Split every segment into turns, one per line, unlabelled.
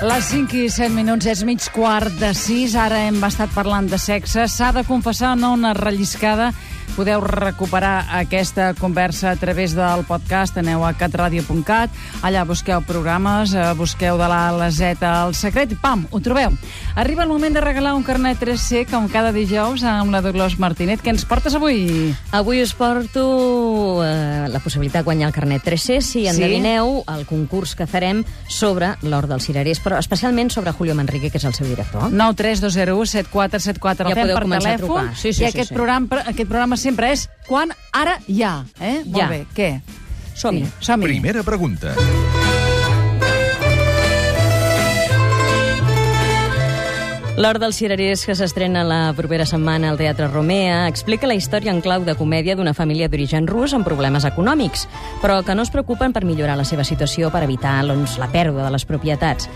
Les 5 i 7 minuts és mig quart de 6. Ara hem estat parlant de sexe. S'ha de confessar no una relliscada. Podeu recuperar aquesta conversa a través del podcast. Aneu a catradio.cat. Allà busqueu programes, eh, busqueu de la A a la Z al secret i pam, ho trobeu. Arriba el moment de regalar un carnet 3C com cada dijous amb la Dolors Martinet. Què ens portes avui?
Avui us porto eh, la possibilitat de guanyar el carnet 3C si endevineu el concurs que farem sobre l'Hort dels Cirerers, però especialment sobre Julio Manrique, que és el seu director.
932017474 el
Ja
fem
podeu
per
començar a
telèfon
trucar. Sí,
i
sí, sí,
aquest,
sí.
Programa, aquest programa sempre és quan, ara, ja eh? Molt
Ja.
bé, què?
Som-hi.
Sí, som -hi.
Primera pregunta.
L'Hort dels Cirerers, que s'estrena la propera setmana al Teatre Romea, explica la història en clau de comèdia d'una família d'origen rus amb problemes econòmics, però que no es preocupen per millorar la seva situació per evitar doncs, la pèrdua de les propietats.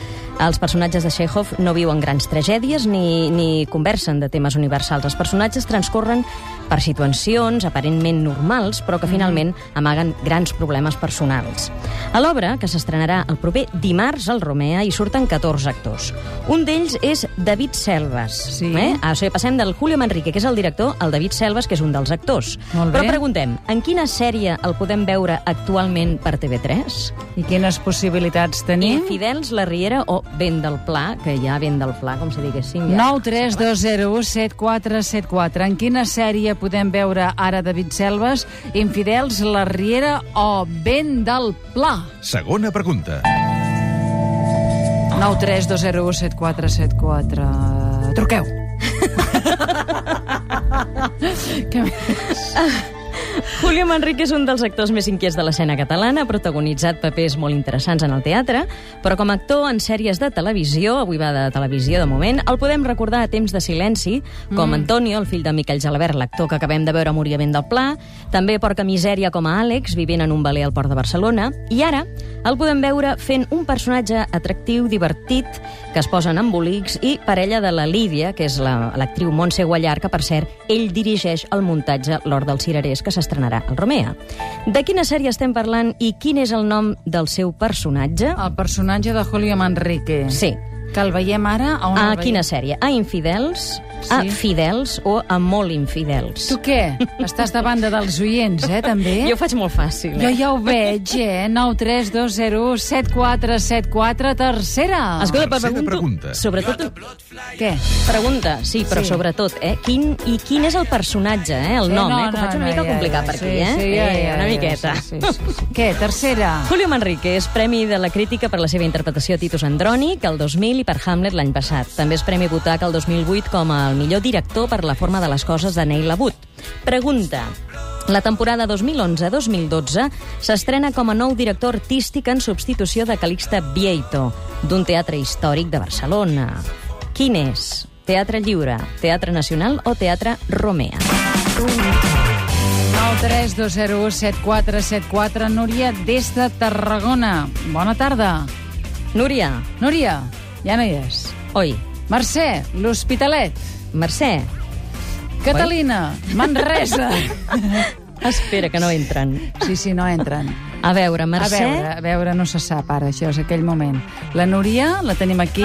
Els personatges de Chekhov no viuen grans tragèdies ni, ni conversen de temes universals. Els personatges transcorren per situacions aparentment normals, però
Mhm.
que finalment amaguen grans problemes personals. A l'obra, que s'estrenarà el proper dimarts al Romea, hi surten 14 actors. Un d'ells és David Selves.
Sí.
Eh? Ah, O sigui, passem del Julio Manrique, que és el director, al David Selves, que és un dels actors.
Molt bé.
Però preguntem, en quina sèrie el podem veure actualment per TV3?
I quines possibilitats tenim?
Infidels, Eh? La Riera o Vent del Pla, que ja Vent del Pla, com si diguéssim. Ja.
932017474 En quina sèrie podem veure ara David Selves, Infidels, La Riera o Vent del Pla?
Segona pregunta.
932017474 Truqueu. que més?
Julio Manrique és un dels actors més inquiets de l'escena catalana, ha protagonitzat papers molt interessants en el teatre, però com a actor en sèries de televisió, avui va de televisió de moment, el podem recordar a temps de silenci, com Antonio, el fill de Miquel Gelabert, l'actor que acabem de veure morir a Vent del Pla, també Porca Misèria com a Àlex, vivint en un baler al port de Barcelona, i ara el podem veure fent un personatge atractiu, divertit, que es posa en embolics, i parella de la Lídia, que és la- l'actriu la, Montse Guallar, que, per cert, ell dirigeix el muntatge L'Hort dels Cirerers, que s'estrenarà al Romea. De quina sèrie estem parlant i quin és el nom del seu personatge?
El personatge de Julio Manrique.
Sí.
Que el veiem ara a on el
A
veiem?
Ah, quina sèrie? A Infidels, a
Sí.
Fidels o a Molt Infidels?
Tu què? Estàs de banda dels oients, eh, també?
Jo ho faig molt fàcil.
Jo
Eh?
ja ho veig, eh? 932017474, tercera.
Escolta, però
Tercera
pregunto,
pregunta.
sobretot,
Què?
Pregunta, sí, però
Sí.
sí. sobretot, eh, quin, i quin és el personatge, eh, el
Sí,
nom,
no,
eh, que ho faig
no,
una
no,
mica
ja,
complicat
ja,
per
sí,
aquí, eh?
sí, ja,
eh
ja,
una
ja,
miqueta.
sí, sí, sí, sí. Què, tercera?
Julio Manrique és Premi de la Crítica per la seva interpretació a Titus Andrònic el 2000 i per Hamlet l'any passat. També és Premi Butac el 2008 com a el millor director per la forma de les coses de Neil Labut. Pregunta. La temporada 2011-2012 s'estrena com a nou director artístic en substitució de Calixte Vieito, d'un teatre històric de Barcelona. Quin és? Teatre Lliure, Teatre Nacional o Teatre Romea?
932017474, Núria, des de Tarragona. Bona tarda.
Núria,
Núria, ja no hi és.
oi,
Mercè, l'Hospitalet.
Mercè,
Catalina, Manresa.
espera que no entren.
Sí, sí, no entren.
A veure, Mercè...
A veure, a veure, no se sap ara, això és aquell moment. La Núria, la tenim aquí.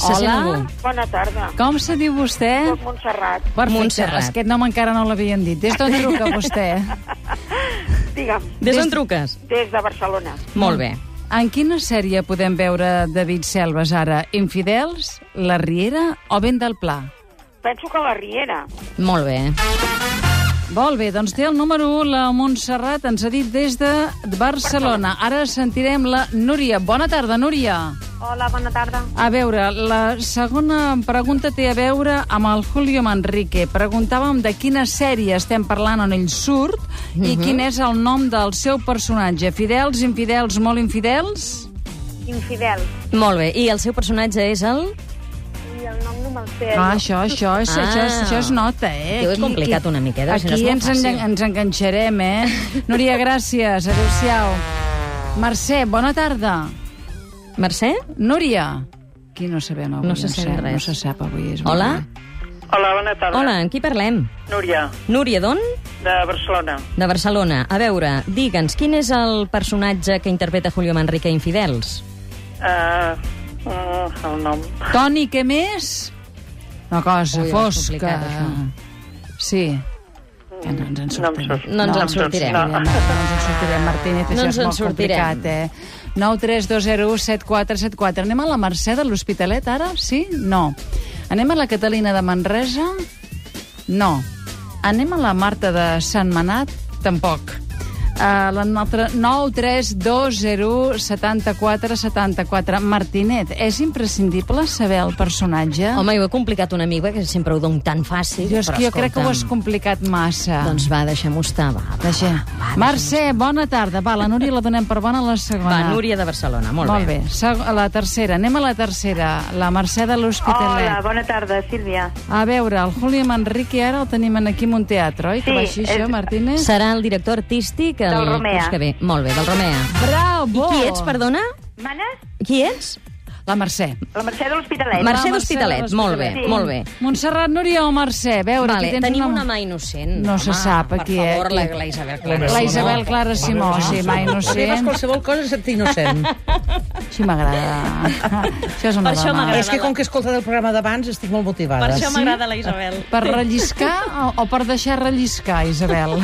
Se sent algú?
Bona tarda.
Com se diu vostè?
Soc Montserrat.
Perfecte,
Montserrat.
aquest nom encara no l'havien dit. Des d'on truca vostè?
Digue'm,
Des d'on truques?
des de Barcelona.
Molt bé.
En quina sèrie podem veure David Selves ara? Infidels, La Riera o Vent del Pla?
Penso que la Riera.
Molt bé.
Molt bé, doncs té el número 1, la Montserrat, ens ha dit des de Barcelona. Ara sentirem la Núria. Bona tarda, Núria.
Hola, bona tarda.
A veure, la segona pregunta té a veure amb el Julio Manrique. Preguntàvem de quina sèrie estem parlant on ell surt i
Mhm.
quin és el nom del seu personatge. Fidels, infidels, molt infidels?
Infidel.
Molt bé. I el seu personatge és el...
I el nom no me'l sé.
Ah, això, això, és,
Ah.
això, és, això es nota, eh?
Tio, he complicat una miqueta, si
Aquí
no és molt
ens,
fàcil.
en, ens enganxarem, eh? Núria, gràcies. Adéu-siau. Mercè, bona tarda.
Mercè?
Núria. Qui no sabem avui?
No se sap
sap,
res.
No se sap avui. És
Hola?
Hola, bona tarda.
Hola, amb qui parlem?
Núria,
Núria d'on?
de Barcelona.
De Barcelona. A veure, digue'ns, quin és el personatge que interpreta Julio Manrique a Infidels?
Uh, Uh, el nom.
Toni, què més? Una cosa
Ui, és
fosca.
complicat,
Sí. Que no ens en
No em
sortirem.
surt.
No ens en sortirem,
No.
evidentment, No ens en sortirem, Martínez,
No
això
ens
és
en
molt complicat,
sortirem.
eh? 9 3 2 0 7 4 7 4. Anem a la Mercè de l'Hospitalet, ara? Sí? No. Anem a la Catalina de Manresa? No. Anem a la Marta de Sant Manat? Tampoc. Uh, la nostra 9 3 2 0 74 74. Martinet, és imprescindible saber el personatge?
Home, jo he complicat una mica, que sempre ho dono tan fàcil.
jo, és
però
que jo crec que ho has
escolta'm,
complicat massa.
Doncs va, deixem-ho estar, va. va.
Deixem. Mercè, bona tarda. Va, la Núria la donem per bona la segona.
Va, Núria de Barcelona, molt,
Molt bé. Seg- La tercera. Anem a la tercera. La Mercè de l'Hospitalet.
bona tarda, Sílvia.
A veure, el Juli Manrique ara el tenim en aquí en un teatre, oi? que
Sí,
va així, això,
és-
Martínez?
Serà el director artístic... El...
Del Romea.
curs Que ve. Molt bé, del Romea.
Bravo!
Qui ets, perdona?
Mana?
Qui ets?
La Mercè.
La Mercè de
Mer-
l'Hospitalet.
Eh, Mercè
de
d'Hospitalet, molt bé,
l'Hospitalet. Sí.
molt bé.
Montserrat, Núria o Mercè? A veure,
Vale,
aquí tens
tenim
una...
una mà innocent.
No se sap aquí,
Per
eh,
favor, la,
qui-
la Isabel Clara.
La Isabel Clara Simó, sí, mai no
Si
sé.
fas qualsevol cosa, se't innocent.
Sí, m'agrada. això és una
Per això
dona.
m'agrada.
és que com que he escoltat el programa d'abans, estic molt motivada.
Per això
sí?
m'agrada la Isabel.
Per relliscar o, o per deixar relliscar, Isabel?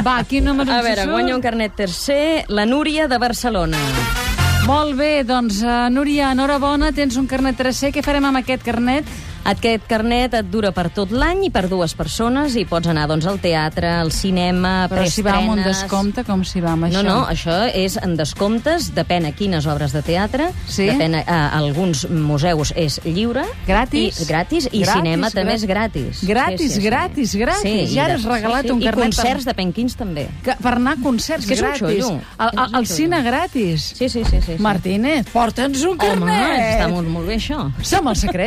Va, quin número
A
ens
veure,
surt?
guanya un carnet tercer, la Núria de Barcelona.
Molt bé, doncs, uh, Núria, enhorabona, tens un carnet 3C. Què farem amb aquest carnet?
Aquest carnet et dura per tot l'any i per dues persones i pots anar doncs, al teatre, al cinema,
Però si va amb un descompte, com si va amb
No,
això?
no, això és en descomptes, depèn a quines obres de teatre,
Sí?
depèn a, a alguns museus és lliure.
Gratis?
I, gratis, i
Gratis,
cinema
gra-
també és gratis.
Gratis, gratis, gratis.
Sí,
I ara
de-
has regalat
sí, sí.
un carnet
I
per-
concerts de Penquins també.
Que, per anar a concerts
És que és un
gratis.
xollo.
Al, al,
És un
al
xollo.
cine gratis.
Sí, sí, sí. sí, sí.
Martínez, porta'ns un
Home,
carnet.
està molt, molt bé això.
Som el secret.